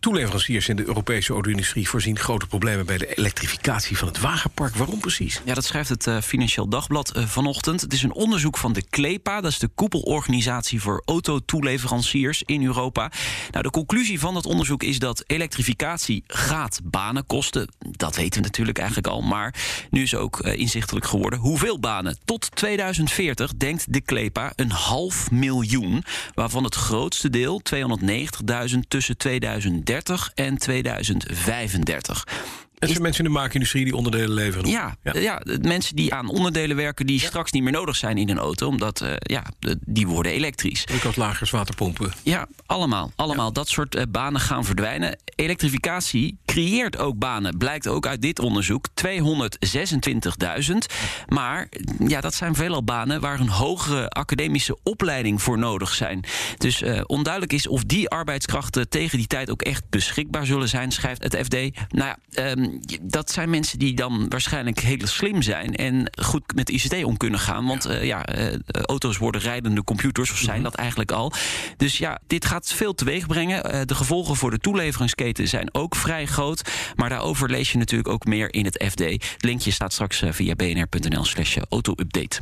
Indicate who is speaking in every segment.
Speaker 1: Toeleveranciers in de Europese auto-industrie voorzien grote problemen bij de elektrificatie van het wagenpark. Waarom precies?
Speaker 2: Ja, dat schrijft het eh, Financieel Dagblad eh, vanochtend. Het is een onderzoek van de CLEPA, dat is de koepelorganisatie voor autotoeleveranciers in Europa. Nou, de conclusie van dat onderzoek is dat elektrificatie gaat banen kosten. Dat weten we natuurlijk eigenlijk al, maar nu is ook eh, inzichtelijk geworden hoeveel banen. Tot 2040 denkt de CLEPA een half miljoen, waarvan het grootste deel, 290.000, tussen 2030 en 2035.
Speaker 1: Het zijn mensen in de maakindustrie die onderdelen leveren.
Speaker 2: Ja, eh, ja. de mensen die aan onderdelen werken die straks niet meer nodig zijn in een auto, omdat eh, ja, de- die worden elektrisch.
Speaker 1: Drukkrachtlagers, waterpompen.
Speaker 2: Ja, allemaal. Allemaal. Dat soort eh, banen gaan verdwijnen. Elektrificatie creëert ook banen, blijkt ook uit dit onderzoek. 226.000. Maar ja, dat zijn veelal banen waar een hogere academische opleiding voor nodig zijn. Dus eh, onduidelijk is of die arbeidskrachten tegen die tijd ook echt beschikbaar zullen zijn, schrijft het FD. Nou ja, ehm, dat zijn mensen die dan waarschijnlijk heel slim zijn en goed met ICT om kunnen gaan. Want eh, ja, eh, auto's worden rijdende computers, of
Speaker 1: Mhm.
Speaker 2: zijn dat eigenlijk al. Dus ja, dit gaat veel teweeg brengen. Eh, de gevolgen voor de toeleveringsketen zijn ook vrij groot. Maar daarover lees je natuurlijk ook meer in het FD. Het linkje staat straks eh, via bnr.nl slash auto-update.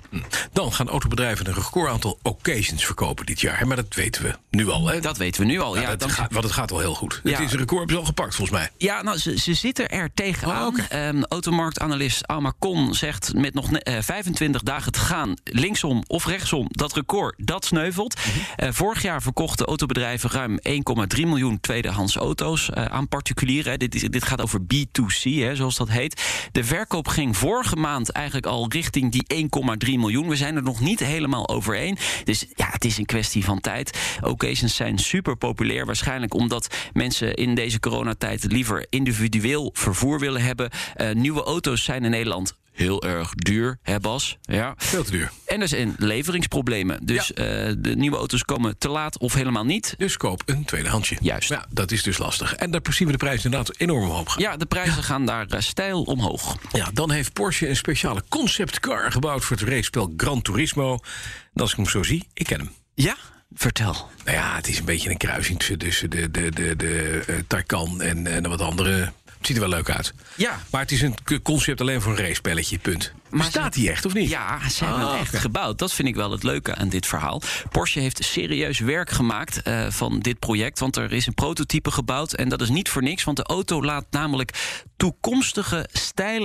Speaker 1: Dan gaan autobedrijven een recordaantal occasions verkopen dit jaar. hè? Maar dat weten we nu al. Hè?
Speaker 2: Dat weten we nu al.
Speaker 1: Nou,
Speaker 2: ja,
Speaker 1: dat
Speaker 2: dan-
Speaker 1: gaat, want het gaat al heel goed.
Speaker 2: Ja.
Speaker 1: Het is een record hebben ze al gepakt, volgens mij.
Speaker 2: Ja, nou, ze, ze zitten er tegenaan.
Speaker 1: Oh, oké.
Speaker 2: Ehm, automarktanalist Alma Kon zegt met nog ne- eh, 25 dagen te gaan... linksom of rechtsom, dat record, dat sneuvelt.
Speaker 1: Mhm.
Speaker 2: Eh, vorig jaar verkochten autobedrijven ruim 1,3 miljoen tweedehands auto's... eh, aan particulieren. hè. Dit, is- dit gaat over B2C, hè, zoals dat heet. De verkoop ging vorige maand eigenlijk al richting die 1,3 miljoen. We zijn er nog niet helemaal overheen. Dus ja, het is een kwestie van tijd. Occasions zijn super populair. Waarschijnlijk omdat mensen in deze coronatijd liever individueel vervoer willen hebben. Eh, nieuwe auto's zijn in Nederland heel erg duur, hè Bas? Ja.
Speaker 1: Veel te duur.
Speaker 2: En er zijn leveringsproblemen. Dus eh, de nieuwe auto's komen te laat of helemaal niet.
Speaker 1: Dus koop een tweedehandsje.
Speaker 2: Juist.
Speaker 1: Ja, dat is dus lastig. En daar zien we de prijs inderdaad enorm omhoog gaan.
Speaker 2: Ja, de prijzen gaan daar eh, stijl omhoog.
Speaker 1: Ja, dan heeft Porsche een speciale conceptcar gebouwd voor het racepel Gran Turismo. En als ik hem zo zie, ik ken hem.
Speaker 2: Ja? Vertel.
Speaker 1: Nou ja, het is een beetje een kruising tussen- tussen de, de, de, de eh, Taycan en, en wat andere. Het ziet er wel leuk uit.
Speaker 2: Ja.
Speaker 1: Maar het is een k- concept alleen voor een racepelletje, punt. Maar staat hij echt of niet?
Speaker 2: Ja, ze hebben
Speaker 1: Ah,
Speaker 2: het echt
Speaker 1: oké.
Speaker 2: gebouwd. Dat vind ik wel het leuke aan dit verhaal. Porsche heeft serieus werk gemaakt eh, van dit project. Want er is een prototype gebouwd. En dat is niet voor niks. Want de auto laat namelijk toekomstige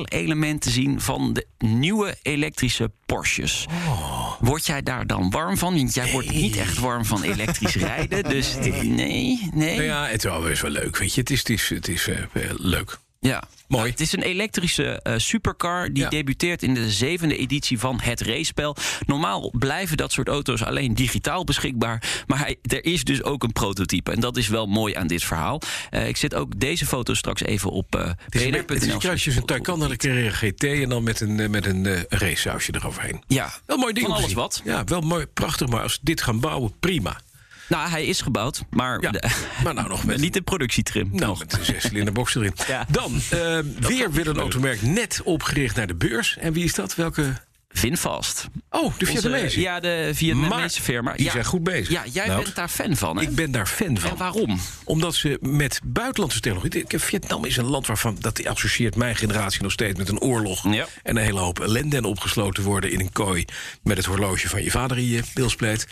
Speaker 2: stijlelementen zien van de nieuwe elektrische Porsches.
Speaker 1: Oh.
Speaker 2: Word jij daar dan warm van? Want jij wordt niet echt warm van elektrisch rijden. Dus nee, nee.
Speaker 1: Nou ja, het is wel, is wel leuk, weet je. Het is, het is, het is eh, eh, leuk.
Speaker 2: Ja.
Speaker 1: Mooi.
Speaker 2: Het is een elektrische eh, supercar die
Speaker 1: Ja.
Speaker 2: debuteert in de zevende editie van het racepel. Normaal blijven dat soort auto's alleen digitaal beschikbaar. Maar hij- er is dus ook een prototype. En dat is wel mooi aan dit verhaal. Eh, ik zet ook deze foto straks even op eh
Speaker 1: Het is, een-
Speaker 2: bnr.nl.
Speaker 1: het is een kruisje tussen een Taycan en een Carrera GT... en dan met een, eh, met een eh, racesausje eroverheen.
Speaker 2: Ja,
Speaker 1: Wel mooi ding.
Speaker 2: Van
Speaker 1: om te
Speaker 2: alles wat.
Speaker 1: zien. Ja, wel mooi, prachtig. Maar als ze dit gaan bouwen, prima.
Speaker 2: Nou, hij is gebouwd, maar
Speaker 1: Ja, maar nou nog met...
Speaker 2: niet de productietrim.
Speaker 1: Nou, met een zescilinder box erin.
Speaker 2: Ja.
Speaker 1: Dan, eh, weer weer een automerk net opgericht naar de beurs. En wie is dat? Welke?
Speaker 2: Vinfast.
Speaker 1: Oh, de Vietnamese.
Speaker 2: Onze- Ja, de Vietnamese
Speaker 1: Maar
Speaker 2: firma.
Speaker 1: die
Speaker 2: ja.
Speaker 1: zijn goed bezig.
Speaker 2: Ja, jij
Speaker 1: Nou.
Speaker 2: bent daar fan van, hè?
Speaker 1: Ik Nou, ben daar fan
Speaker 2: En
Speaker 1: van.
Speaker 2: waarom?
Speaker 1: Omdat ze met buitenlandse technologie... Kijk, Vietnam is een land waarvan... dat associeert mijn generatie nog steeds met een oorlog...
Speaker 2: Ja.
Speaker 1: en een hele hoop ellende en opgesloten worden in een kooi... met het horloge van je vader in je bilspleet.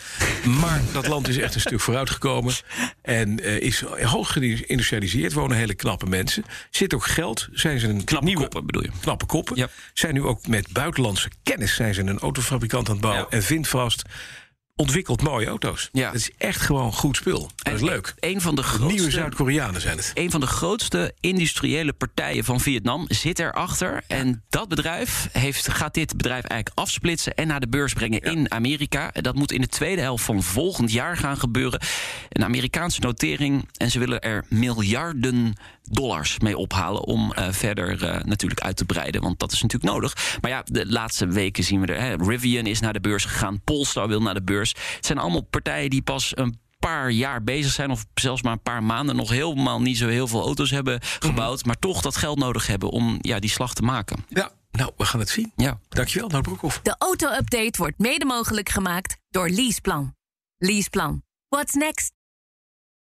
Speaker 1: Maar dat land is echt een stuk vooruitgekomen... en eh, is hoog geïndustrialiseerd, wonen hele knappe mensen. Zit ook geld, zijn ze een
Speaker 2: Knappe
Speaker 1: nieuwe,
Speaker 2: koppen, bedoel je?
Speaker 1: knappe koppen.
Speaker 2: Ja.
Speaker 1: Zijn nu ook met buitenlandse kennis zijn ze een autofabrikant aan het bouwen.
Speaker 2: Ja.
Speaker 1: En vind vast ontwikkelt mooie auto's.
Speaker 2: Ja.
Speaker 1: Het is echt gewoon goed spul. Dat is
Speaker 2: En
Speaker 1: leuk.
Speaker 2: Een van de
Speaker 1: Nieuwe
Speaker 2: grootste
Speaker 1: Zuid-Koreanen zijn het.
Speaker 2: een van de grootste industriële partijen van Vietnam zit erachter. En dat bedrijf heeft, gaat dit bedrijf eigenlijk afsplitsen en naar de beurs brengen in Amerika. En Dat moet in de tweede helft van volgend jaar gaan gebeuren. Een Amerikaanse notering. En ze willen er miljarden dollars mee ophalen om eh, verder eh, natuurlijk uit te breiden. Want dat is natuurlijk nodig. Maar ja, de laatste weken zien we er. Hè, Rivian is naar de beurs gegaan. Polestar wil naar de beurs. Het zijn allemaal partijen die pas een paar jaar bezig zijn, of zelfs maar een paar maanden nog helemaal niet zo heel veel auto's hebben gebouwd, maar toch dat geld nodig hebben om ja, die slag te maken.
Speaker 1: Ja, nou, we gaan het zien.
Speaker 2: Ja.
Speaker 1: Dankjewel, Nou Broekhoff.
Speaker 3: De auto-update wordt mede mogelijk gemaakt door Leaseplan. Leaseplan. What's next?